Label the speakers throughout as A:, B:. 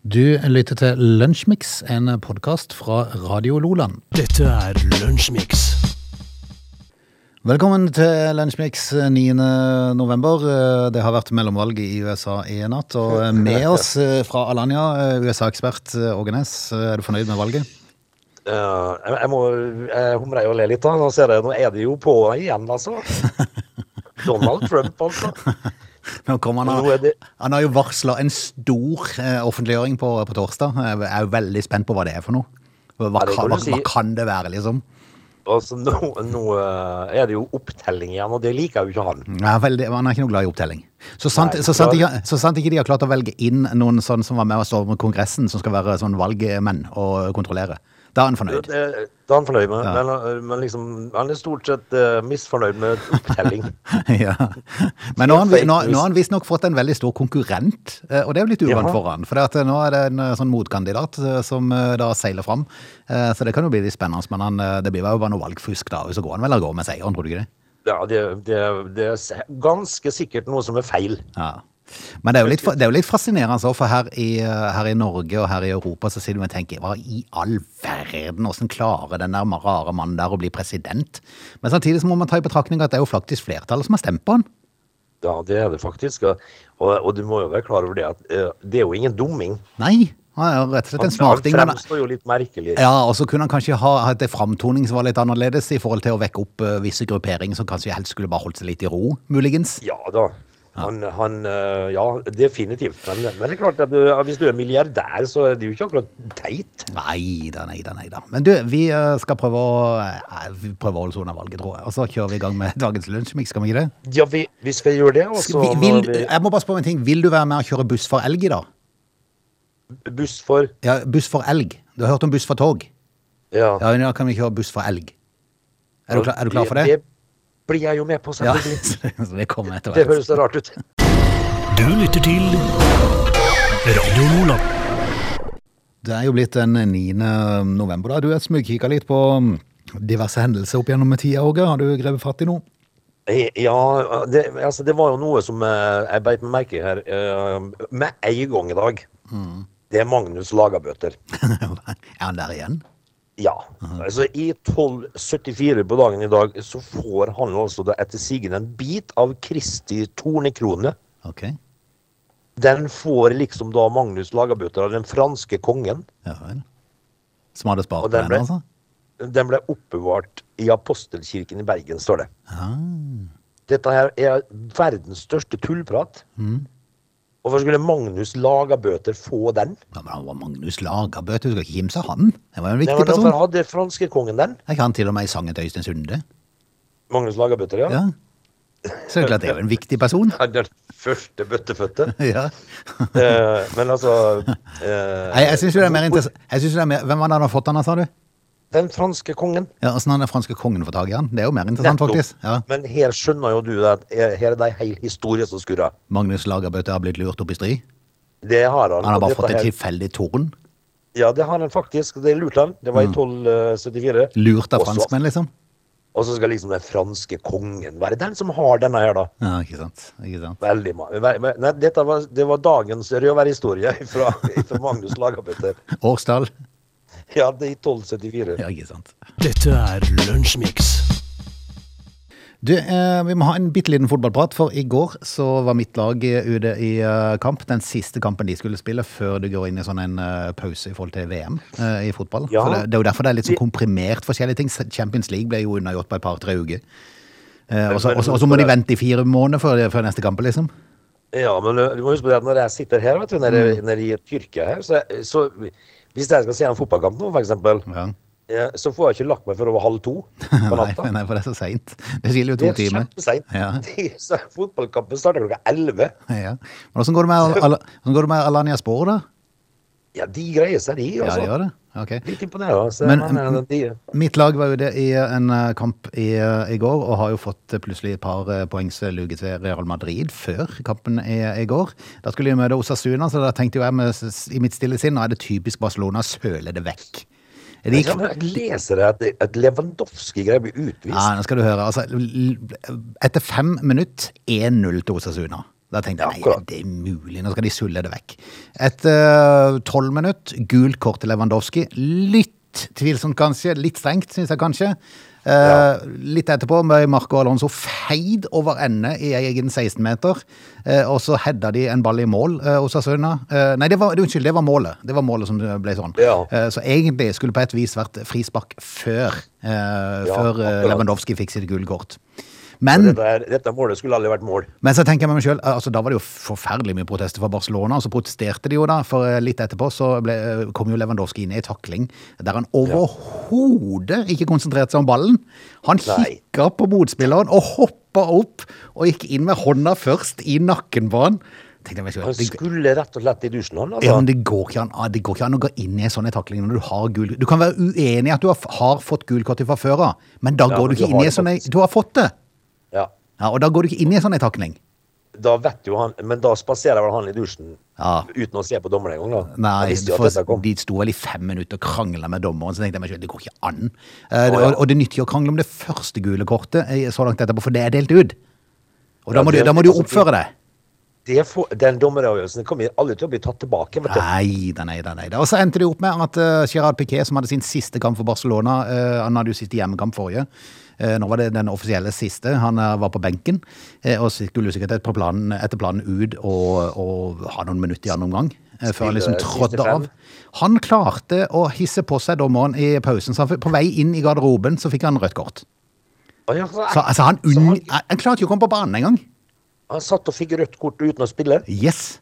A: Du lytter til Lunsjmix, en podkast fra Radio Loland.
B: Dette er Lunsjmix.
A: Velkommen til Lunsjmix 9. november. Det har vært mellomvalg i USA i natt. Og med oss eh, fra Alanya, USA-ekspert Åge Næss, eh, er du fornøyd med valget?
C: Ja, jeg, jeg må jeg humrer jo og ler litt, da. Nå, ser jeg, nå er det jo på igjen, altså. Donald Trump, altså.
A: Nå kommer han,
C: Nå er det-
A: han har jo varsla en stor eh, offentliggjøring på, på torsdag. Jeg er jo veldig spent på hva det er for noe. Hva,
C: Ja, det
A: hva,
C: kan du
A: hva,
C: si.
A: hva kan det være, liksom?
C: altså nå, nå eh, er det jo opptelling igjen, og det liker jo ikke han.
A: Ja, veldig, han er ikke noe glad i opptelling. Så sant,
C: Nei,
A: så, sant
C: klar.
A: ikke, så sant ikke de har klart å velge inn noen sånn som var med og stå med Kongressen, som skal være sånn valgmenn og kontrollere. Da er han
C: Det,
A: fornøyd.
C: det det er han fornøyd med,
A: Ja.
C: men, eh, men liksom, han er stort sett eh, misfornøyd med opptelling.
A: ja. Men nå har han,
C: Fake
A: nå,
C: news.
A: nå har han visstnok fått en veldig stor konkurrent, eh, og det er jo litt uvant
C: Ja.
A: for han. For det at eh, nå er det en eh, sånn motkandidat eh, som eh, da seiler fram, Eh, så det kan jo bli litt spennende. Men han, eh, det blir jo bare noe valgfusk da, og så går han vel av gårde med seieren, tror du ikke det?
C: Ja, det, det, det er se- ganske sikkert noe som er feil.
A: Ja. Men det er jo litt, det er jo litt fascinerende, også, for her i, eh, her i Norge og her i Europa så sitter vi og tenker hva i all verden, hvordan klarer den der rare mannen der å bli president? Men samtidig så må man ta i betraktning at det er jo faktisk flertallet som har stemt på han.
C: Ja, det er det faktisk. Og, og, og du må jo være klar over det at eh, det er jo ingen dumming.
A: Nei, han er jo rett og slett
C: Han,
A: en
C: han
A: smarting. men-
C: fremstår jo litt merkelig.
A: Ja, og så kunne han kanskje ha hatt en framtoning som var litt annerledes i forhold til å vekke opp eh, visse grupperinger som kanskje helst skulle bare holdt seg litt i ro, muligens.
C: Ja da. Han, han, eh, ja, definitivt. Men, men det er klart at du, hvis du er milliardær, så er det jo ikke akkurat teit.
A: Nei da, nei da, nei da. Men du, vi eh, skal prøve å, eh, vi prøver å holde oss unna valget, tror jeg. Og så kjører vi i gang med dagens lunsjmix, skal vi ikke det?
C: Ja, vi, vi skal gjøre det. Og
A: Skal,
C: så
A: vi-
C: må
A: vil, jeg må bare spørre om en ting. Vil du være med og kjøre buss for elg i dag?
C: vi buss for
A: Ja, buss for elg. Du har hørt om buss for tog?
C: Ja.
A: Ja, men da kan vi kjøre buss for elg. Er du klar, er du klar for det?
C: Det blir jeg jo med på,
A: Ja,
C: selvfølgelig.
A: så det kommer etter
C: Det
A: hvert.
C: høres så rart ut.
B: Du lytter til Radio Lola.
A: Det er jo blitt den 9. eh, november, da. Du har smugkikka litt på mm, diverse hendelser opp gjennom tida, Åge. Har du grepet fatt i noe?
C: Eh, Ja, det, altså, det var jo noe som eh, jeg beit meg merke i her eh, med en gang i dag.
A: Mm.
C: Det er Magnus Lagabøter.
A: er han der igjen?
C: Ja.
A: Mhm.
C: Altså, I 1274 på dagen i dag så får han altså da etter sigende en bit av Kristi tornekrone.
A: Ok.
C: Den får liksom da Magnus Lagabøter av den franske kongen.
A: Ja vel. Som hadde spart
C: Og
A: på
C: den
A: den,
C: ble-
A: altså?
C: Den ble oppbevart i apostelkirken i Bergen, står det.
A: Ah,
C: Dette her er verdens største tullprat.
A: Mhm.
C: Og hvorfor skulle Magnus Lagabøter få den?
A: ja, men han var Magnus Lagerbøte, du skal ikke kimse av han? Det var jo en
C: Nei,
A: viktig
C: men Hvorfor
A: person.
C: hadde franskekongen den?
A: Er ikke han til og med i sangen til Øystein Sunde?
C: Magnus Lagabøter, ja.
A: Ja. Så det er klart det er jo en viktig person.
C: Han er Den første bøttefødte.
A: Ja.
C: Eh, men altså eh,
A: Nei, jeg syns jo det er mer interessant jeg synes jo det er mer, Hvem var det han har fått han av, sa du?
C: Den franske kongen.
A: Ja, Åssen har den franske kongen fått tak i han? Det er jo mer interessant,
C: Nettopp.
A: faktisk. Ja.
C: Men her skjønner jo du at eh, her er det en hel historie som skurrer.
A: Magnus Lagerbøte har blitt lurt opp i stry.
C: Det har han.
A: Han har
C: og
A: bare
C: dette
A: fått et
C: her-
A: tilfeldig torn.
C: Ja, det har han faktisk. Det er lurt han. Det var i 1274.
A: Mm. Lurt av
C: Og så-
A: franskmenn, liksom.
C: Og så skal liksom den franske kongen være den som har denne her, da.
A: Ja, ikke sant. Ikke sant.
C: Veldig ma- ve- ve- Nei, dette var, det var dagens røverhistorie fra, fra Magnus Lagabøter.
A: Årsdal.
C: Ja, det er i 1274.
A: Ja, ikke sant.
B: Dette er Lunsjmix.
A: Du, eh, vi må ha en bitte liten fotballprat, for i går så var mitt lag eh, ute i eh, kamp. Den siste kampen de skulle spille før du går inn i sånn en eh, pause i forhold til VM eh, i fotball.
C: Ja.
A: For det, det er jo derfor det er litt sånn komprimert forskjellige ting. Champions League ble jo unnagjort på et par-tre uker. Eh, og så- og så og så må de vente i fire måneder før, før neste kamp, liksom.
C: Ja, men ø, du må huske på det at når jeg sitter her, vet du, nede,
A: Mm.
C: nede i Tyrkia her, så, så hvis jeg skal se en fotballkamp nå, for eksempel,
A: Ja.
C: eh, så får jeg ikke lagt meg før over halv to på
A: Mm. Nei,
C: natta.
A: nei, for det er så seint. Det skiller jo
C: Det
A: to
C: er
A: timer.
C: kjempeseint.
A: Ja.
C: De- så Fotballkampen starter klokka elleve.
A: Ja. Men åssen går det med, Al Al hvordan går det med Alanya Spor, da?
C: Ja, de greier seg, de.
A: Ja,
C: Altså.
A: det gjør det. Ok.
C: Litt imponerende. altså.
A: Men-
C: men, eh, de,
A: Mitt lag var jo det i en eh, kamp i, eh, i går, og har jo fått eh, plutselig et par eh, poengs eh, luke til Real Madrid før kampen i, i går. Da skulle de møte Osasuna, så da tenkte jo jeg med, s- s- i mitt stille sinn nå er det typisk Barcelona, søle det vekk. De
C: jeg,
A: gikk,
C: kan- jeg leser at, at Lewandowski greier å bli utvist.
A: ja, nå skal du høre. Altså, l- l- etter fem minutt 1-0 til Osasuna. Da tenkte jeg nei,
C: Akkurat.
A: er det er mulig, nå skal de sulle det vekk. Etter eh, tolv minutt, gult kort til Lewandowski. Litt tvilsomt, kanskje. Litt strengt, syns jeg kanskje. Eh, Litt etterpå ble Marco Alonso feid over ende i egen 16-meter. eh, og så hedda de en ball i mål, eh, Osasuna. Eh, nei, det var, unnskyld, det var målet. Det var målet som ble sånn.
C: Ja.
A: Eh, så egentlig skulle på et vis vært frispark før, eh,
C: Ja,
A: før eh,
C: akkurat.
A: Lewandowski fikk sitt gule kort. Men
C: Dette, her- dette målet skulle aldri vært mål.
A: men så tenker jeg med meg selv, altså da var det jo forferdelig mye protester fra Barcelona, og så protesterte de jo da, for eh, litt etterpå så ble, eh, kom jo Lewandowski inn i en takling, der han overhodet ikke konsentrerte seg om ballen. Han
C: Nei.
A: kikket på motspilleren og hoppet opp, og gikk inn med hånda først i nakken på han. Tenkte jeg meg
C: Han
A: selv, det,
C: skulle rett og slett i dusjen, han.
A: ja, men
C: Altså.
A: det går, ikke an, ah, det går ikke an å gå inn i en sånn en takling når du har gul Du kan være uenig i at du har, har fått gul kort fra før av, men da
C: Ja,
A: går du
C: men
A: ikke
C: du
A: inn
C: har
A: i en
C: det
A: sånn en-
C: faktisk.
A: Du har fått det!
C: Ja.
A: Ja, og da går du ikke inn i en sånn en takling.
C: Da vet jo han, men da spaserer vel han i dusjen
A: Ja.
C: uten å se på dommeren engang, da. Han
A: Nei,
C: visste jo at
A: for
C: dette kom.
A: de sto vel i fem minutter og krangla med dommeren. Så tenkte jeg meg selv, det går ikke an. Eh, det,
C: Å, ja.
A: og, og det nytter jo å krangle om det første gule kortet eh, så langt etterpå, for det er delt ut. Og da
C: Ja,
A: må,
C: det-
A: du, da må du jo
C: altså,
A: oppføre deg.
C: Det får- den dommeravgjørelsen kommer aldri til å bli tatt tilbake. Vet du.
A: Nei da, nei da. nei da. Og så endte det jo opp med at eh, Gerard Piquet, som hadde sin siste kamp for Barcelona eh, Han hadde jo siste hjemmekamp forrige. Eh, nå var det den offisielle siste. Han eh, var på benken eh, og skulle sikkert etter planen, etter planen ut og, og ha noen minutter i andre omgang. eh, før han liksom
C: Spille
A: trådde
C: siste fem.
A: av. Han klarte å hisse på seg dommeren i pausen, så han fikk, på vei inn i garderoben så fikk han rødt kort.
C: Å, ja, så-
A: Så, altså, han,
C: så
A: unn,
C: han,
A: han klarte jo å komme på banen engang.
C: han satt og fikk rødt kort uten å spille.
A: Yes!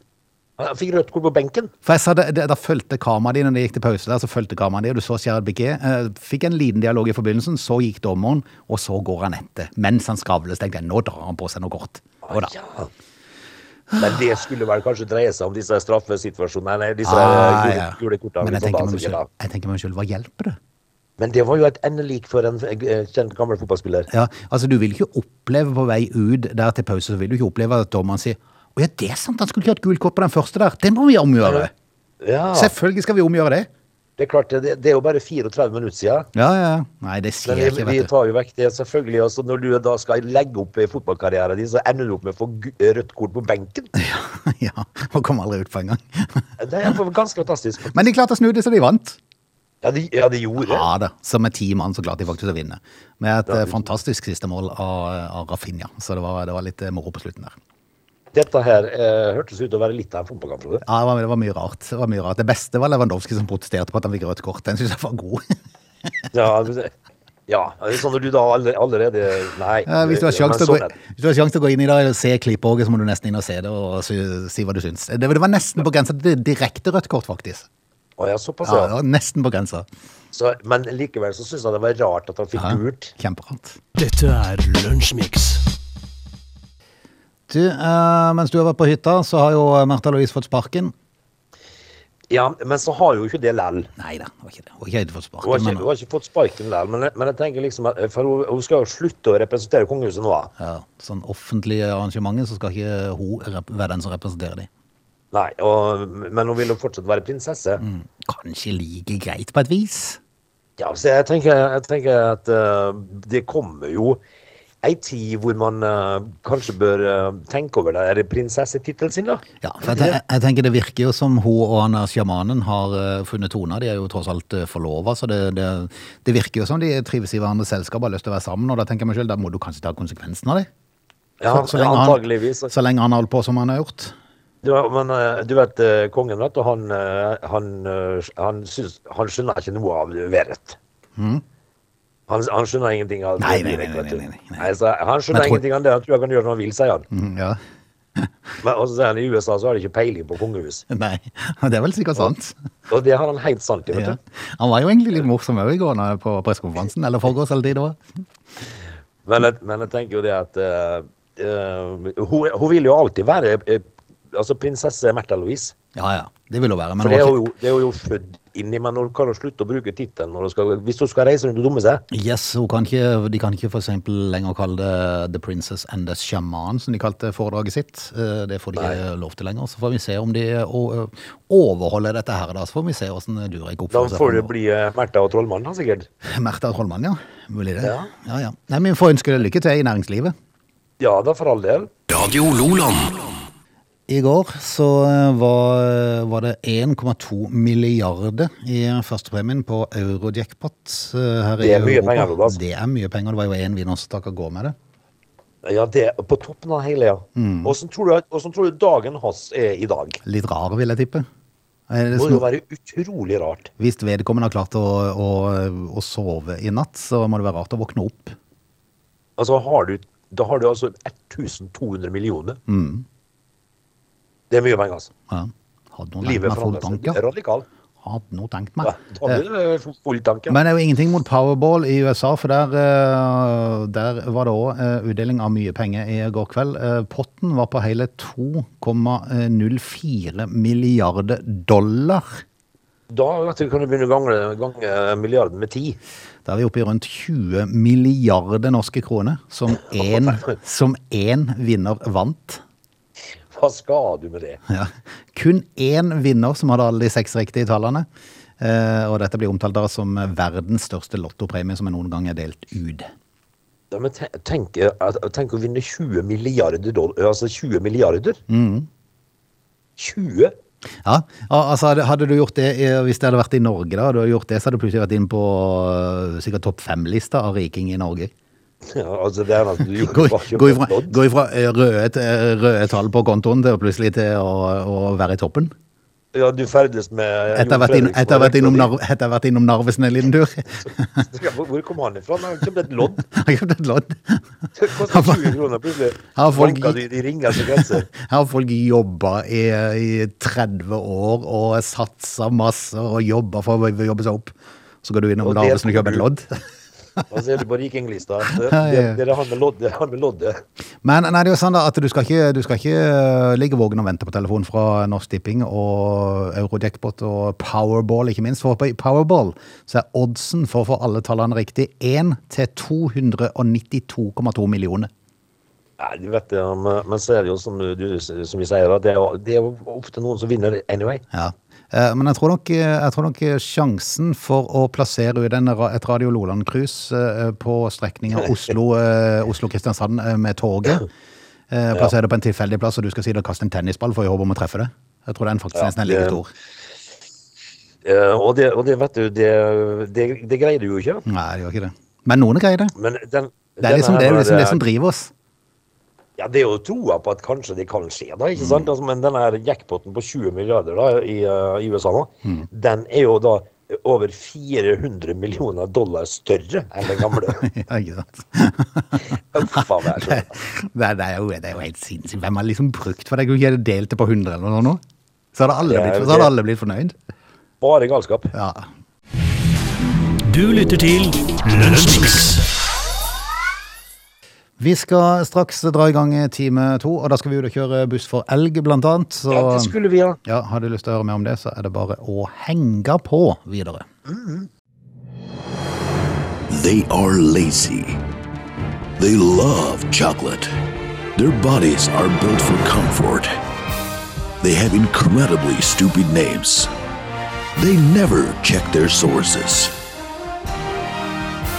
C: Han fikk rødt kort på benken.
A: For jeg sa det, det, Da fulgte kameraet de når de gikk til pause. der, så fulgte kameraet de, og Du så Gerard Biquet. Eh, fikk en liten dialog i forbindelsen, så gikk dommeren, og så går han etter. Mens han skravler, så tenkte jeg nå drar han på seg noe godt. Og da,
C: Ja. Men det skulle vel kanskje dreie seg om disse straffesituasjonene. Nei, disse
A: Ah,
C: gule,
A: ja.
C: gule kortene.
A: Men jeg tenker
C: liksom, da,
A: med meg
C: sikkert, da.
A: selv, jeg tenker med meg selv, hva hjelper det?
C: Men det var jo et endelik for en eh, kjent, gammel fotballspiller.
A: Ja, altså Du vil ikke oppleve på vei ut der til pause så vil du ikke oppleve at dommeren sier å ja, det er sant, han skulle ikke hatt gult kort på den første der. Det må vi omgjøre.
C: Ja,
A: Selvfølgelig skal vi omgjøre det.
C: det er klart, det, det er jo bare 34 minutter siden.
A: Ja, ja. ja. Nei, det
C: Men
A: skjer
C: vi,
A: ikke,
C: vi
A: vet du.
C: tar jo vekk det, selvfølgelig. Altså, når du da skal legge opp eh, fotballkarrieren din, så ender du opp med å få gu- eh, rødt kort på benken.
A: Ja, Og kom aldri ut på en gang.
C: Det er ganske fantastisk.
A: Men de klarte å snu det, så de vant.
C: Ja, det ja, de gjorde det.
A: Ja da, så med ti mann så klarte de faktisk å vinne. Med et
C: Ja,
A: eh,
C: det-
A: fantastisk siste mål av, av Rafinha. Så det var, det var litt eh, moro på slutten der.
C: Dette her eh, hørtes ut til å være litt av en fotballkamp, Frode.
A: Ja, det var, det, var mye rart. det var mye rart. Det beste var Lewandowski som protesterte på at han fikk rødt kort. Den syns jeg var god.
C: Ja, men det- ja, så når du da alle- allerede Nei.
A: Eh, Hvis du har
C: men
A: sjanse til å gå,
C: sånn er det.
A: hvis du har sjanse til å gå inn i dag og se klippet, Åge, så må du nesten inn og se det og si, si hva du syns. Det, det var nesten på grensa til direkte rødt kort, faktisk.
C: Å, ja, såpass,
A: Ja,
C: ja.
A: det var nesten på grensa.
C: Så, men likevel så syns jeg det var rart at han fikk
A: Ja,
C: gult.
A: Kjemperart.
B: Dette er Lunsjmix.
A: Du, eh, mens du har vært på hytta, så har jo Märtha Louise fått sparken.
C: Ja, men så har jo ikke det lell.
A: Nei da, det var ikke det. Hun har ikke fått
C: Hun har
A: sparken.
C: ikke, hun har ikke fått sparken lell, men, jeg- men jeg tenker liksom at for hun, hun skal jo slutte å representere kongehuset nå. da.
A: Ja, sånn offentlige arrangementer, så skal ikke hun rep- være den som representerer de.
C: Nei, og, men hun vil jo fortsatt være prinsesse.
A: Mm. Kanskje like greit på et vis?
C: Ja, så jeg tenker, jeg tenker at eh, det kommer jo ei tid hvor man eh, kanskje bør eh, tenke over det er prinsessetittelen sin, da.
A: Ja, for jeg, te- jeg tenker det virker jo som hun og han der sjamanen har eh, funnet tona. De er jo tross alt eh, forlova, så det, det, det virker jo som de trives i hverandres selskap og har lyst til å være sammen. Og da tenker jeg meg selv, da må du kanskje ta konsekvensen av det.
C: Ja,
A: så, lenge han,
C: antageligvis.
A: så lenge han har holdt på som han har gjort.
C: Du, men eh, du vet, eh, kongen vet du, han, eh, han, eh, han, syns, han skjønner ikke noe av været. Han, han skjønner ingenting av
A: Mm. Nei,
C: det
A: nei, nei,
C: direkte, vet du.
A: nei, nei, nei.
C: Nei, så han skjønner
A: Men tror-
C: ingenting av det. Han tror han kan gjøre som han vil, sier han.
A: Mm, Ja,
C: Men også sier han i USA så har de ikke peiling på kongehus.
A: Nei, det er vel sikkert sant.
C: Og det har han helt sant i, vet
A: Ja.
C: du.
A: Han var jo egentlig litt morsom òg i går når- på pressekonferansen, eller forgårs eller tid det var.
C: Men, jeg- men jeg tenker jo det at eh, eh, hun, hun vil jo alltid være eh, altså prinsesse Märtha Louise.
A: Ja ja, det vil hun være. Men
C: For
A: hun
C: det
A: var
C: er
A: ikke-
C: hun jo, det er hun jo født inn i, men hun kan jo slutte å bruke tittelen når hun skal- hvis hun skal reise rundt og dumme seg.
A: Yes, hun kan ikke, De kan ikke for eksempel lenger kalle det The Princess and the Shaman, som de kalte foredraget sitt. Eh, Det får de ikke lov til lenger. Så får vi se om de eh, o- overholder dette her, da. Så får vi se åssen Durek
C: Da
A: oppfører seg.
C: får det
A: fremover.
C: bli eh, Märtha og trollmannen, da, sikkert.
A: Märtha Trollmann, ja. Mulig det.
C: Ja.
A: Ja, ja. Nei, men Vi får ønske deg lykke til i næringslivet.
C: Ja da, for all del.
B: Radio Loland.
A: i går så eh, var, var det 1,2 milliarder i førstepremien på eurojackpot eh, her i
C: Det er mye
A: Europa.
C: penger, Jonas.
A: Det er mye penger. Det var jo én vinner som stakk av gårde med det.
C: Ja, det er på toppen av hele, ja.
A: Mm.
C: Åssen tror, du at- hvordan tror du dagen hans er i dag?
A: Litt rar, vil jeg tippe. Er det
C: Det må
A: sånn-
C: jo være utrolig rart.
A: Hvis vedkommende har klart å, å, å sove i natt, så må det være rart å våkne opp.
C: Altså, har du, da har du altså 1200 millioner.
A: Mm.
C: Det er mye penger, altså.
A: Ja. Hadde noe tenkt
C: Livet
A: meg full
C: forandrer
A: tank,
C: seg
A: ja.
C: radikalt.
A: Hadde noe tenkt
C: Ja,
A: meg. Eh,
C: da blir det full- full tanke.
A: Men det er jo ingenting mot Powerball i USA, for der, eh, der var det òg utdeling av mye penger i går kveld. Eh, Potten var på hele 2,04 milliarder dollar.
C: Da vet du, kan du begynne å gange, gange milliarden med ti.
A: Da er vi oppe i rundt 20 milliarder norske kroner, som én, som én vinner vant.
C: Hva skal du med det?
A: Ja. Kun én vinner som hadde alle de seks riktige tallene. Eh, og dette blir omtalt da som verdens største lottopremie som er noen gang er delt ut.
C: Ja, men te- tenk, eh, at- tenk å vinne 20 milliarder dollar. Altså 20 milliarder?
A: Mm.
C: 20?
A: Ja, al- altså hadde, hadde du gjort det eh, Hvis det hadde vært i Norge, da, hadde du gjort det, så hadde du plutselig vært inn på eh, sikkert topp fem-lista av riking i Norge.
C: Ja, altså, det er altså, du
A: Gå,
C: gjorde bare ikke
A: gå ifra,
C: oppnådd.
A: gå ifra eh, røde, t- eh, røde tall på kontoen til å plutselig til å, å være i toppen.
C: Ja, du ferdes med eh,
A: Etter å ha
C: Jon
A: vært inn-
C: Fredriksen
A: etter å
C: og
A: ha vært innom
C: rektor
A: Narv- etter å ha vært innom Narvesen en liten tur.
C: din. Ja, hvor- Hvor kom han ifra? Han har jo ikke blitt lodd.
A: Har jeg fått et lodd.
C: Det koster 20 kroner plutselig.
A: Har folk
C: Banker
A: gitt-
C: de de ringeste grenser.
A: Her har folk jobba i, i 30 år og satsa masse og jobba for å jobbe seg opp. Så går du innom
C: Og det
A: Larvesen og kjøper et lodd.
C: Og så er du på rikinglista. Det,
A: Ja, ja,
C: det,
A: ja.
C: det er han med loddet. Han med loddet.
A: Men nei, det er jo sånn da at du skal ikke, du skal ikke eh, ligge våken og vente på telefon fra Norsk Tipping og Eurojackpot og Powerball, ikke minst. For på Powerball så er oddsen for å få alle tallene riktig 1 til 292,2 millioner.
C: Nei, du vet det, men, men så er det jo som, du, som vi sier, at det er, jo- det er jo ofte noen som vinner anyway.
A: Ja. Eh, Men jeg tror, nok, jeg tror nok sjansen for å plassere ut en, ra- et Radio Loland-cruise eh, på strekninga Oslo, eh, Oslo-Kristiansand eh, med toget eh, Plassere det på en tilfeldig plass, og du skal si det og kaste en tennisball for i håp om å treffe det. Jeg tror den faktisk
C: Ja,
A: nesten er like
C: det-
A: stor.
C: Eh, og, det, og det vet du, det, det, det greier du jo ikke.
A: Nei, det gjør ikke det. Men noen greier det.
C: Men den,
A: Det er liksom det,
C: denne her,
A: liksom det som driver oss.
C: Ja, det er jo troa på at kanskje det kan skje, da. ikke
A: Mm.
C: sant? Altså, men denne her jackpoten på 20 milliarder da, i, eh, i USA nå,
A: Mm.
C: den er jo da over 400 millioner dollar større enn den gamle.
A: Ja, ikke sant?
C: Uffa meg. altså.
A: Det, det, er jo, det er jo helt sinnssykt. Hvem har liksom brukt for det? Kunne ikke jeg delt det på 100 eller noe nå? Så hadde alle
C: Ja,
A: blitt,
C: det-
A: så hadde alle blitt fornøyd.
C: Bare galskap.
A: Ja.
B: Du lytter til Lunsjmix.
A: Vi skal straks dra i gang time to, og da skal vi ut og kjøre buss for elg, blant annet. Så
C: Ja, det skulle vi ha.
A: ja, har du lyst til å høre mer om det, så er det bare å henge på videre.
B: They are lazy. They love chocolate. Their bodies are built for comfort. They have incredibly stupid names. They never check their sources.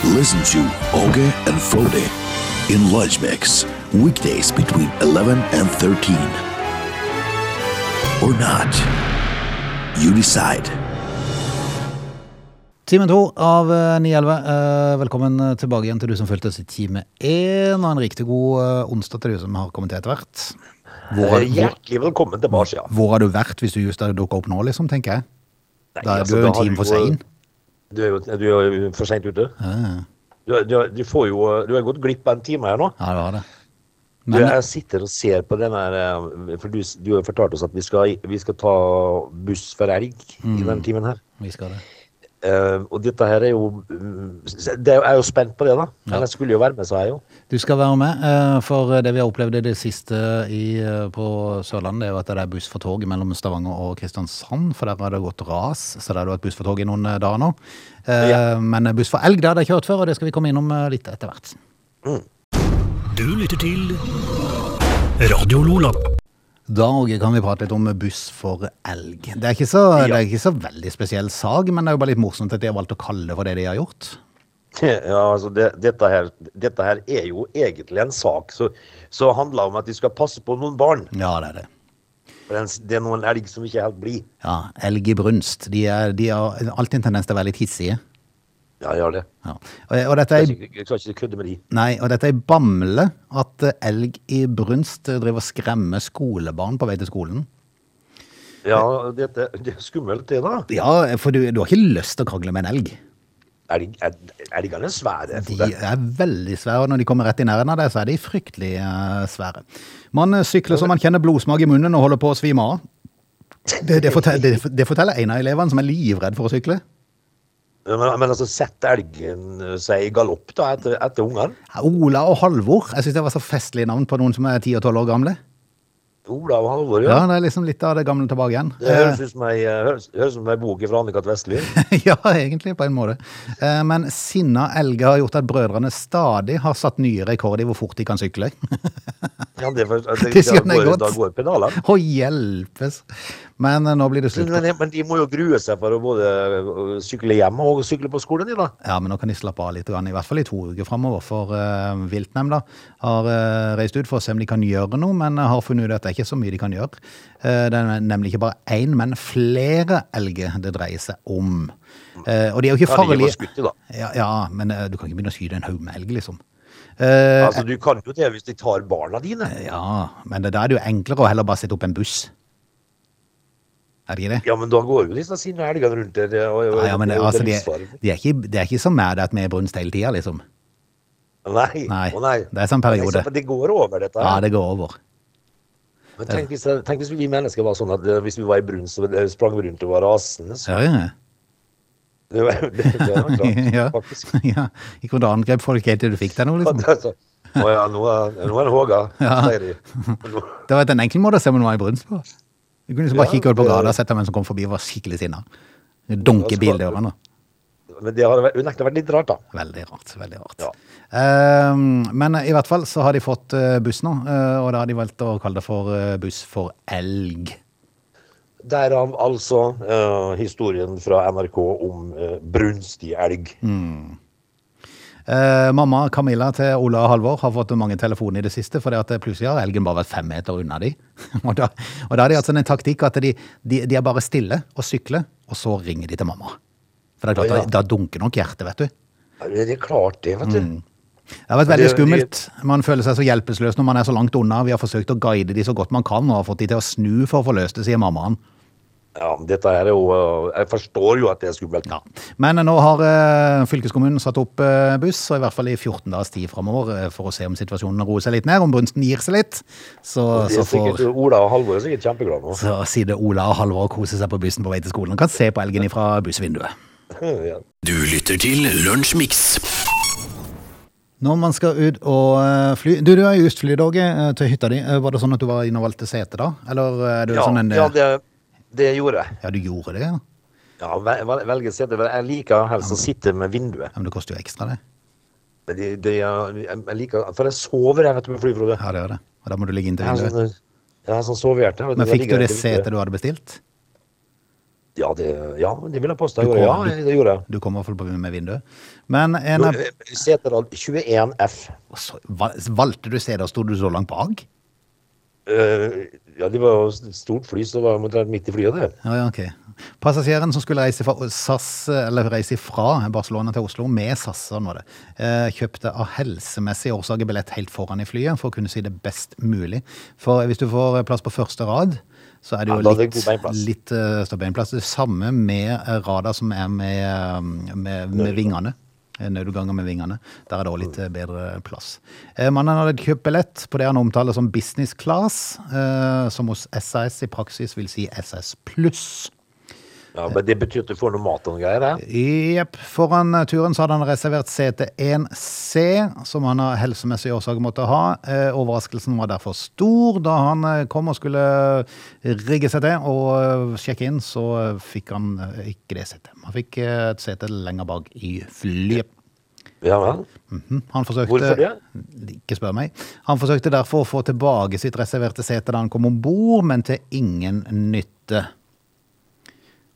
B: Listen to Oge and Frode in Lunch Mix, weekdays between 11 and 13. Or not. You decide.
A: Time to av eh, 9.11. Eh, Velkommen tilbake igjen til du som fulgte oss i time én, og en riktig god eh, onsdag til du som har kommet til etter hvert. Hvor, har-
C: Eh, Hjertelig velkommen tilbake. Ja.
A: hvor, hvor har du vært hvis du just hadde dukka opp nå, liksom, tenker jeg?
C: Nei,
A: Da er
C: altså,
A: du jo en
C: har
A: time for
C: jo-
A: sein.
C: Du er jo, du er jo for seint ute. Du, er- du, er- du får jo Du har gått glipp av en time her nå.
A: Ja, det var det.
C: Du, jeg sitter og ser på den her eh, For du, s- du har fortalt oss at vi skal, vi skal ta buss for elg i denne timen her.
A: Vi skal det.
C: Eh, og dette her er jo mm, s- det er, jo- Jeg er jo spent på det, da.
A: Ja.
C: Men jeg skulle jo være med, sa jeg jo.
A: Du skal være med, eh, for det vi har opplevd i det siste i, eh, på Sørlandet, er jo at det er buss for tog mellom Stavanger og Kristiansand, for der har det gått ras, så der har det vært buss for tog i noen eh, dager nå. Eh,
C: Ja.
A: Men buss for elg, det har de kjørt før, og det skal vi komme innom eh, litt etter hvert.
B: Du lytter til Radio Lola.
A: Da Åge, kan vi prate litt om buss for elg. Det er ikke så, det er ikke så veldig spesiell sag, men det er jo bare litt morsomt at de har valgt å kalle det for det de har gjort.
C: Ja, altså det, dette, her, dette her er jo egentlig en sak som handler om at de skal passe på noen barn.
A: Ja, det er det.
C: For den, det er noen elg som ikke er helt blid.
A: Ja, elg i brunst. De, er, de har alltid en tendens til å være litt hissige.
C: Ja, gjør det.
A: Ja. Og, og dette
C: Jeg
A: er,
C: skal ikke- jeg skal ikke kødde med de.
A: nei, og dette er bamle at eh, elg i brunst eh, driver og skremmer skolebarn på vei til skolen.
C: Ja, dette, det er skummelt, det, da.
A: Ja, for du, du har ikke lyst til å krangle med en elg.
C: Elg- el- Elgene er svære.
A: De
C: Frode.
A: er veldig svære, og når de kommer rett i nærheten av deg, så er de fryktelig eh, svære. Man eh, sykler så man kjenner blodsmak i munnen og holder på å svime av. Det, det, forteller, det, det forteller en av elevene som er livredd for å sykle.
C: Men, men altså, setter elgen øh, seg i galopp da, etter, etter ungene?
A: Ola og Halvor. Jeg syns det var så festlig navn på noen som er 10 og 12 år gamle.
C: Ola og Halvor, ja.
A: Ja, det er liksom litt av det gamle tilbake igjen.
C: Det høres ut som ei, øh, høres, høres som ei bok fra Annika Vestli.
A: ja, egentlig, på en måte. Eh, Men sinna elger har gjort at brødrene stadig har satt nye rekorder i hvor fort de kan sykle.
C: Ja, det, er for- at det,
A: Det skjønner
C: da
A: jeg
C: går-
A: godt.
C: da går pedalene.
A: Å hjelpes! Men eh, nå blir det
C: Men,
A: slutt.
C: men, men de må jo grue seg for å både øh, sykle hjem og sykle på skolen, de, da.
A: Ja, men nå kan de slappe av litt, grann, i hvert fall i to uker framover. For uh, viltnemnda har eh, reist ut for å se om de kan gjøre noe, men eh, har funnet ut at det er ikke så mye de kan gjøre. Eh, det er nemlig ikke bare én, men flere elger det dreier seg om. Eh, og de er jo ikke
C: Ja, de er
A: farlige.
C: jo skutt, da.
A: Ja, ja, men eh, du kan ikke begynne å skyte en haug med elg, liksom. Eh,
C: Altså, du kan jo det hvis de tar barna dine.
A: ja, men det, da er det jo enklere å heller bare sette opp en buss. Er det ikke det?
C: Ja, men da går jo disse sinne elgene rundt der. det- Og, og,
A: Ja, ja, men det, altså, de,
C: livsfarlig.
A: de, er ikke, de er ikke som meg, det at vi er brunst hele tida, liksom.
C: Nei.
A: Nei,
C: å nei.
A: det er sånn periode.
C: Men Det går over, dette.
A: Ja,
C: her.
A: det går over.
C: Men tenk, hvis, tenk hvis vi mennesker var sånn at eh, hvis vi var i brunst og eh, sprang rundt og var rasende, så
A: Ja, ja.
C: det, var- det, det var klart,
A: ja.
C: faktisk.
A: ja. Ikke hvordan du angrep folk helt til du fikk deg noe, liksom.
C: Altså, Å ja, nå er, nå er det Håga,
A: Ja.
C: sier de. Nå-
A: Det var en enkel måte å se om det var i brunst på. Du kunne liksom bare
C: Ja,
A: kikke ut på
C: det-
A: gata og sett hvem som kom forbi og var skikkelig sinna. Dunke
C: Ja, så-
A: bildøren og
C: Men det har vært- unektelig vært litt rart, da.
A: Veldig rart. veldig rart.
C: Ja.
A: Ehm, men i hvert fall så har de fått eh, buss nå, eh, og da har de valgt å kalle det for eh, buss for elg.
C: Derav altså eh, historien fra NRK om eh, brunstig elg.
A: Mm. Eh, mamma Camilla til Ola og Halvor har fått mange telefoner i det siste, fordi at plutselig har elgen bare vært fem meter unna de. og, da, og da har de hatt sånn en taktikk at de, de, de er bare stille og sykler, og så ringer de til mamma. For det er klart,
C: Ja, ja.
A: Da, da dunker nok hjertet, vet du.
C: Ja, Det er klart, det, vet du.
A: Mm. Det har vært veldig
C: Det-
A: skummelt. Man føler seg så hjelpeløs når man er så langt unna. Vi har forsøkt å guide de så godt man kan, og har fått de til å snu for å få løst det, sier mammaen.
C: Ja, men dette her er jo eh, Jeg forstår jo at det er skummelt.
A: Ja. Men nå har eh, fylkeskommunen satt opp eh, buss, og i hvert fall i 14 dagers tid framover, eh, for å se om situasjonen roer seg litt ned, om brunsten gir seg litt. Så,
C: Det
A: så,
C: er sikkert,
A: får,
C: Ola og Halvor er sikkert kjempeglade nå.
A: så sitter Ola og Halvor og koser seg på bussen på vei til skolen. Kan se på elgen fra bussvinduet.
C: Ja.
D: Du lytter til Lunsjmix.
A: Når man skal ut og eh, fly Du, du er just flydoge eh, til hytta di. Eh, Var det sånn at du var inne og valgte sete, da? Eller eh, er du
C: Ja,
A: sånn en
C: ja det, det gjorde jeg.
A: Ja, du gjorde det, ja? ja?
C: Ja, vel- vel- velge sete. vel, Jeg liker helst å sitte med vinduet.
A: Men det koster jo ekstra, det.
C: Men Det, det, jeg jeg liker, for jeg sover jeg vet du, på fly, Frode.
A: Ja, det gjør det. Og da må du ligge
C: Jeg
A: inntil
C: har
A: vinduet.
C: sånn, jeg har sånn sovehjerte. vet
A: Men
C: Jeg
A: fikk du
C: ligger
A: det
C: rett i vinduet.
A: setet du hadde bestilt?
C: Ja, det, ja, det vil jeg påstå.
A: Du
C: Jeg gjorde.
A: kom-
C: Ja, det gjorde jeg.
A: Du kom i hvert fall på med vinduet. Men en av
C: Jo, eh, Seterad 21F.
A: Og så val- valgte du CD, og sto du så langt bak?
C: Eh, ja, det var jo et stort fly, så det var omtrent midt i flyet, det.
A: Ja, ja, ok. Passasjeren som skulle reise fra, eh, SAS, eller reise fra Barcelona til Oslo med SAS, sånn var det, eh, kjøpte av helsemessige årsaker billett helt foran i flyet for å kunne si det best mulig. For hvis du får eh, plass på første rad, så er det jo
C: Ja, da er det
A: litt,
C: god beinplass.
A: litt eh, stor beinplass. Det samme med eh, radar som er med, eh, med, med vingene. Eh, Nødutganger med vingene. Der er det også litt eh, bedre plass. Eh, Mannen hadde kjøpt billett på det han omtaler som business class, eh, som hos SAS i praksis vil si SS pluss.
C: Ja, men det betyr at du får noe mat og noe greier, det.
A: Jepp. Foran eh, turen så hadde han reservert sete 1C, som han av helsemessige årsaker måtte ha. Eh, Overraskelsen var derfor stor. Da han eh, kom og skulle rigge seg til og eh, sjekke inn, så eh, fikk han eh, ikke det setet. Han fikk eh, et sete lenger bak i flyet.
C: Ja vel.
A: Mhm. Han forsøkte,
C: Hvorfor det?
A: Ikke spør meg. Han forsøkte derfor å få tilbake sitt reserverte sete da han kom om bord, men til ingen nytte.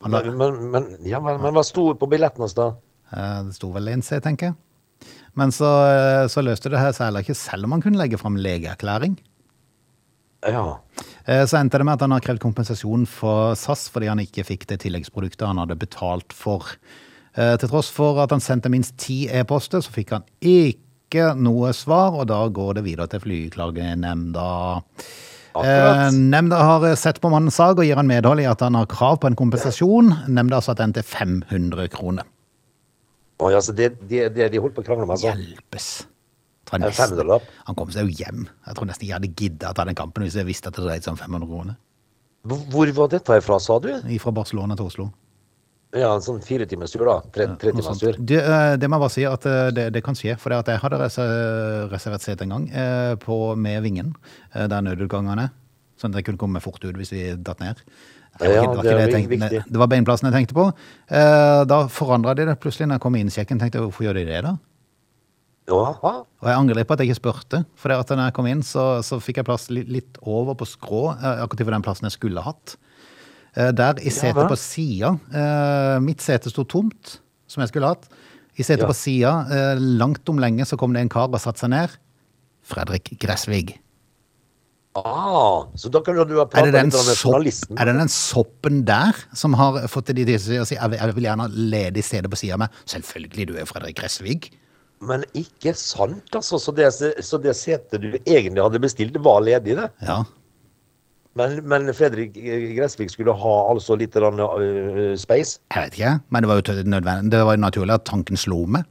A: Han la-
C: Men, men, men, ja, men, men hva sto på billetten hans, da?
A: Eh, Det sto vel 1C, tenker jeg. Men så, eh, så løste det her seg heller ikke, selv om man kunne legge fram legeerklæring.
C: Ja.
A: Eh, Så endte det med at han har krevd kompensasjon for SAS fordi han ikke fikk det tilleggsproduktet han hadde betalt for. Eh, Til tross for at han sendte minst ti e-poster, så fikk han ikke noe svar, og da går det videre til Flyklagenemnda.
C: Akkurat.
A: Eh, Nemnda har sett på mannens sag og gir han medhold i at han har krav på en kompensasjon. Nemnda har satt den til 500 kroner.
C: Oi, altså, det, det, det de holdt på å krangle om, altså.
A: Hjelpes. Jeg tror
C: En
A: nesten-
C: femhundrelapp.
A: Han kom seg jo hjem. Jeg tror nesten jeg hadde giddet å ta den kampen hvis jeg visste at det dreide seg om 500 kroner.
C: Hvor- Hvor var dette ifra, sa du?
A: Fra Barcelona til Oslo.
C: Ja, en sånn fire timers tur, da. Tre, tre
A: Noe
C: timers
A: sånt.
C: tur.
A: Det, eh, det må jeg bare si at eh, det, det kan skje. For det at jeg hadde reser- reservert sete en gang eh, på, med Vingen, eh, der nødutgangen er. Sånn at jeg kunne komme fort ut hvis vi datt ned. Det
C: Ja,
A: var, ikke, det, var ikke det,
C: det er
A: jeg tenkte,
C: viktig.
A: det var beinplassen jeg tenkte på. Eh, Da forandra de det plutselig når jeg kom inn i sjekken. tenkte jeg, Hvorfor gjør de det, da?
C: Jaha.
A: Og jeg angrer litt på at jeg ikke spurte. For det at når jeg kom inn, så, så fikk jeg plass li- litt over på skrå, eh, akkurat på den plassen jeg skulle hatt. Eh, Der i setet
C: vel.
A: på sida eh, Mitt sete sto tomt, som jeg skulle hatt. I setet
C: Ja.
A: på sida, eh, langt om lenge, så kom det en kar og satte seg ned. Fredrik Gressvig.
C: Ah, så da kan du ha
A: Er
C: pratet
A: det, den
C: litt om
A: sopp,
C: journalisten.
A: er det den soppen der som har fått de til å si jeg vil, jeg vil gjerne ha ledig sete på sida av meg? Selvfølgelig, du er jo Fredrik Gressvig.
C: Men ikke sant, altså. Så det, så det setet du egentlig hadde bestilt, det var ledig, det.
A: Ja.
C: Men, men Fredrik eh, Gressvik skulle ha altså litt grann, eh, space.
A: Jeg vet ikke, men det var jo tø- nødvendig. Det var jo naturlig at tanken slo meg.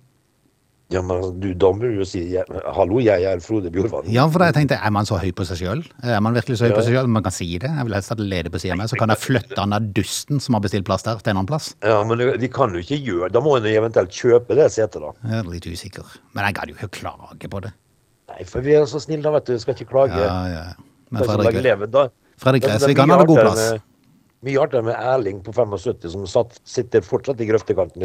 C: Ja, men du, da må du jo si jeg, Hallo, jeg er Frode Bjorvann.
A: Ja, for da jeg tenkte, er man så høy på seg sjøl? Er man virkelig så høy
C: Ja.
A: på seg sjøl? Man kan si det. Jeg vil helst at det leder på sida av meg, så kan jeg flytte han der dusten som har bestilt plass der, til en annen plass.
C: Ja, men det- de kan jo ikke gjøre Da må en eventuelt kjøpe det setet, da.
A: Jeg er litt usikker. Men jeg gadd jo ikke klage på det.
C: Nei, for vi er så snille, da, vet du. Skal ikke klage.
A: Ja, ja. Men
C: Den som lager
A: Fredrik,
C: leven, da.
A: Fredrik
C: Det- det er
A: Gressvik,
C: mye
A: han hadde god
C: artigere
A: plass.
C: med- Mye artigere med Erling på 75 som satt, sitter fortsatt i grøftekanten i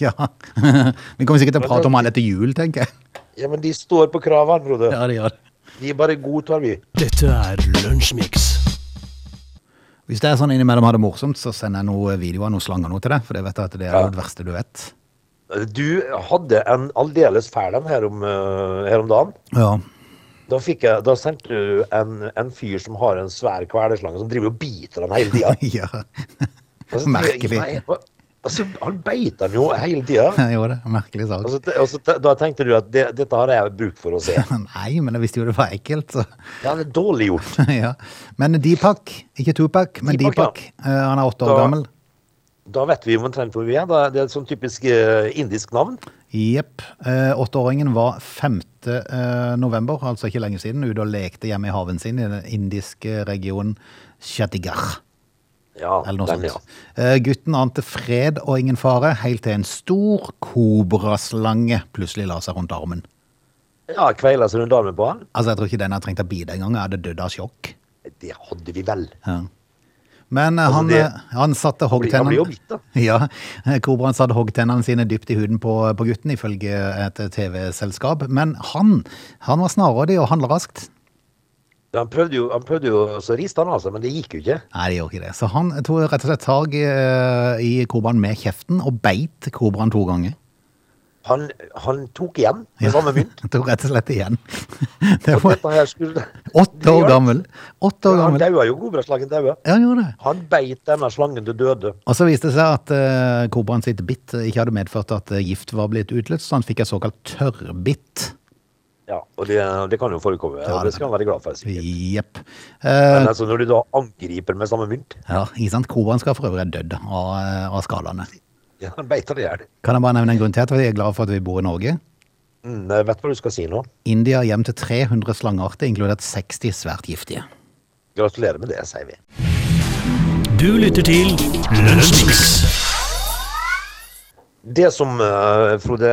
A: Ja. Vi kommer sikkert til å prate om han etter jul, tenker jeg.
C: Ja, men de står på kravene, Frode.
A: Ja, det gjør det.
C: De bare godtar vi.
D: Dette er Lunsjmix.
A: Hvis det er sånn innimellom har det morsomt, så sender jeg noen videoer, noen slanger noe til deg, for det vet jeg at det er
C: Ja.
A: det verste du vet.
C: Du hadde en aldeles fæl en her om, eh, her om dagen.
A: Ja.
C: Da, fikk jeg, da sendte du en, en fyr som har en svær kveleslange som driver og biter han hele tida.
A: ja. Merkelig.
C: Altså, han beit han jo hele tida.
A: Jo, det er en merkelig sak.
C: Altså, te- altså, te- da tenkte du at det, dette har jeg bruk for å se.
A: Nei, men jeg visste jo det var ekkelt, så
C: Ja, det er dårlig gjort.
A: ja. Men Deepak, ikke Tupac, men
C: Deepak,
A: Deepak. eh, Han er åtte år
C: Da-
A: gammel.
C: Da vet vi omtrent hvor vi er. Da, det er et sånn typisk eh, indisk navn.
A: Jepp. Eh, Åtteåringen var 5. eh, november, altså ikke lenge siden, ute og lekte hjemme i haven sin i den indiske regionen Chhattisgarh.
C: Ja,
A: Eller noe
C: den, ja.
A: sånt. Eh, Gutten ante fred og ingen fare, helt til en stor kobraslange plutselig la seg rundt armen.
C: Ja, kveila seg rundt armen på han.
A: Altså, Jeg tror ikke den hadde trengt å bite engang. Jeg hadde dødd av sjokk.
C: Det hadde vi vel.
A: Ja. Men eh, han,
C: Altså, det-
A: eh, han satte
C: Han blir jo
A: hoggtennene
C: bitt, da.
A: Ja, eh, Kobraen satte hoggtennene sine dypt i huden på, på gutten, ifølge et eh, TV-selskap. Men han, han var snarrådig og handla raskt.
C: Han prøvde jo, han prøvde jo så riste han av seg, men det gikk jo ikke.
A: Nei, det gjorde ikke det. Så han tok rett og slett tak i, eh, i kobraen med kjeften og beit kobraen to ganger.
C: Han, han tok igjen med samme mynt.
A: Han tok rett og slett igjen. Det
C: Og
A: var
C: dette her skulle
A: åtte år gammel. Åtte år
C: Han
A: gammel.
C: daua jo, kobraslangen daua.
A: Ja, han gjorde det.
C: Han beit denne slangen til døde.
A: Og så viste det seg at eh, kobraen sitt bitt ikke hadde medført at eh, gift var blitt utløst, så han fikk et såkalt tørrbitt.
C: Ja, og det, det kan jo forekomme.
A: Ja,
C: og det skal han være glad for. sikkert.
A: Jepp.
C: Men
A: Eh,
C: altså, når du da angriper med samme mynt
A: ja, ikke sant? Kobraen skal for øvrig ha dødd av, eh, av skadene.
C: ja, Han beit han i hjel.
A: Kan jeg bare nevne en grunn til at jeg er glad for at vi bor i Norge?
C: Mm, jeg vet hva du skal si nå.
A: India hjem til 300 slangearter, inkludert 60 svært giftige.
C: Gratulerer med det, sier vi.
D: Du lytter til Lunsjmix.
C: Det som eh, Frode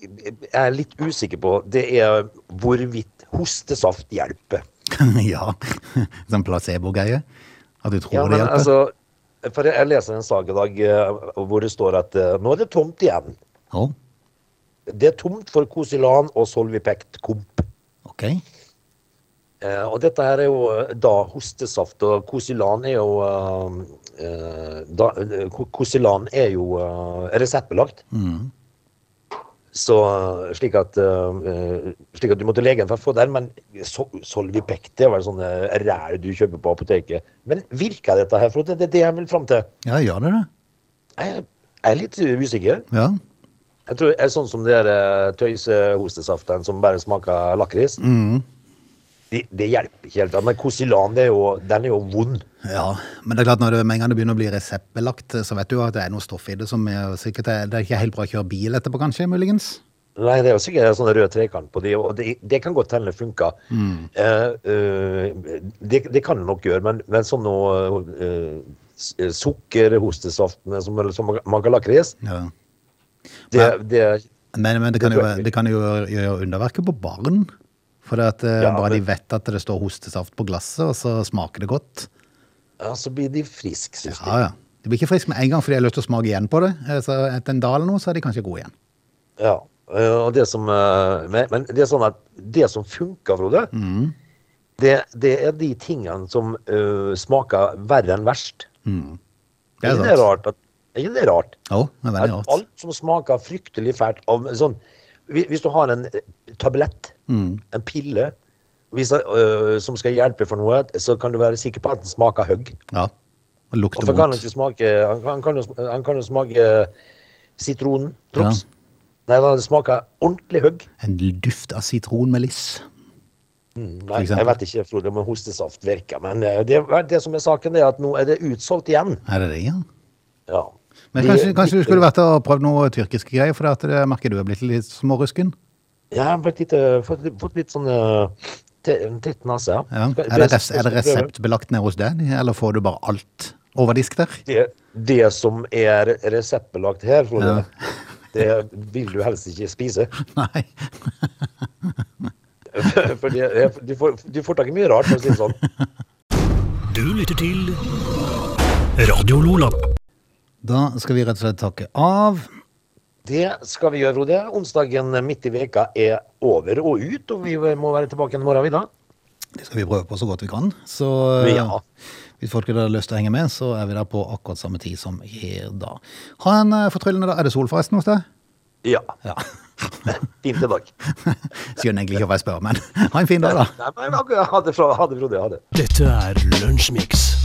C: jeg er litt usikker på, det er hvorvidt hostesaft hjelper.
A: ja, sånn placebo-greie. At du tror
C: Ja,
A: det
C: men
A: hjelper.
C: altså, for jeg leser en sak i dag eh, hvor det står at eh, nå er det tomt igjen.
A: Å,
C: Det er tomt for Kosilan og Solvipekt Komp.
A: ok.
C: Eh, og dette her er jo eh, da hostesaft, og Kosilan er jo eh, eh, da, eh, Ko- Kosilan er jo eh, reseptbelagt. Så, eh, slik, at, eh, slik at du må til legen for å få den. Men Sol- Solvipek det var sånne ræl du kjøper på apoteket. Men virker dette her, Frode? Det er det jeg vil fram til.
A: Ja, gjør det det?
C: Jeg jeg er litt usikker.
A: Ja.
C: Jeg tror det er sånn som de der eh, tøysehostesaften som bare smaker lakris. Det, det hjelper ikke helt. da. Men Kosilan, det er jo, den er jo vond.
A: ja. Men det er klart, når det, med en gang det begynner å bli reseptbelagt, så vet du jo at det er noe stoff i det som er sikkert er, Det er ikke helt bra å kjøre bil etterpå, kanskje, muligens?
C: Nei, det er jo sikkert en sånn rød trekant på de, og det, det kan godt hende det funker. Eh, eh, det, det kan det nok gjøre, men, men sånn noe eh, s- eh, sukkerhostesaftene som, eller som maker lakris,
A: Ja.
C: det, det
A: Men, men det, kan
C: Det
A: jo,
C: tror jeg ikke.
A: det kan jo gjøre, gjøre underverket på barn. For det at, eh,
C: Ja,
A: bare
C: men-
A: de vet at det står hostesaft på glasset, og så smaker det godt.
C: ja, så altså, blir de friske, synes jeg.
A: Ja, ja. De blir ikke friske med en gang, for de har lyst til å smake igjen på det. Eh, Så etter en dag eller noe, så er de kanskje gode igjen.
C: Ja. eh, Og det som, eh, men, men det er sånn at det som funker, Frode,
A: Mm.
C: det, det er de tingene som eh, smaker verre enn verst.
A: Mm. Det er
C: ikke det
A: sant.
C: rart? At, er ikke det rart?
A: Jo, det er
C: At
A: veldig rart.
C: alt som smaker fryktelig fælt av sånn hvi- Hvis du har en eh, tablett,
A: Mm.
C: en pille, hvis, det, øh, som skal hjelpe for noe, så kan du være sikker på at den smaker høgg.
A: Ja. Og lukter
C: Hvorfor kan han
A: vondt.
C: ikke smake Han kan, han kan, jo, sm- han kan jo smake eh, sitron, drops.
A: Ja.
C: Nei, da, det smaker ordentlig høgg.
A: En duft av sitronmeliss.
C: Nei,
A: eksempel.
C: jeg vet ikke, Frode, om hostesaft virker, men eh, det, det som er saken, det er at nå er det utsolgt igjen.
A: Er det det, ja?
C: Ja.
A: Men
C: De-
A: kanskje, kanskje du
C: eh,
A: skulle vært og prøvd noe tyrkiske greier, for det at det merker du er blitt litt smårusken.
C: Jeg har blitt litt, eh, fått, fått litt sånn eh, te- en tett nese. ja.
A: Ja.
C: Skal-
A: Er, det res
C: skal
A: er det
C: jeg prøve?
A: reseptbelagt nede hos deg, eller får du bare alt over disk der?
C: det, det som er reseptbelagt her, Frode, det vil du helst ikke spise.
A: Nei.
C: For det er- du får, du får tak i mye rart, for å si det sånn.
D: Du lytter til Radio Lola.
A: Da skal vi rett og slett takke av.
C: Det skal vi gjøre, Frode. Onsdagen midt i veka er over og ut, og vi må være tilbake igjen i morgen, vi da.
A: Det skal vi prøve på så godt vi kan. Så eh,
C: Ja.
A: hvis folk har lyst til å henge med, så er vi der på akkurat samme tid som her da. Ha en eh, fortryllende dag. Er det sol forresten hos deg?
C: Ja.
A: Ja.
C: Fint i dag.
A: Skjønner egentlig ikke hva jeg spør, men ha en fin dag, da.
C: Nei, men akkurat, Ha det, Frode. Ha det. Frode, Ha det.
D: Dette er Lunsjmix.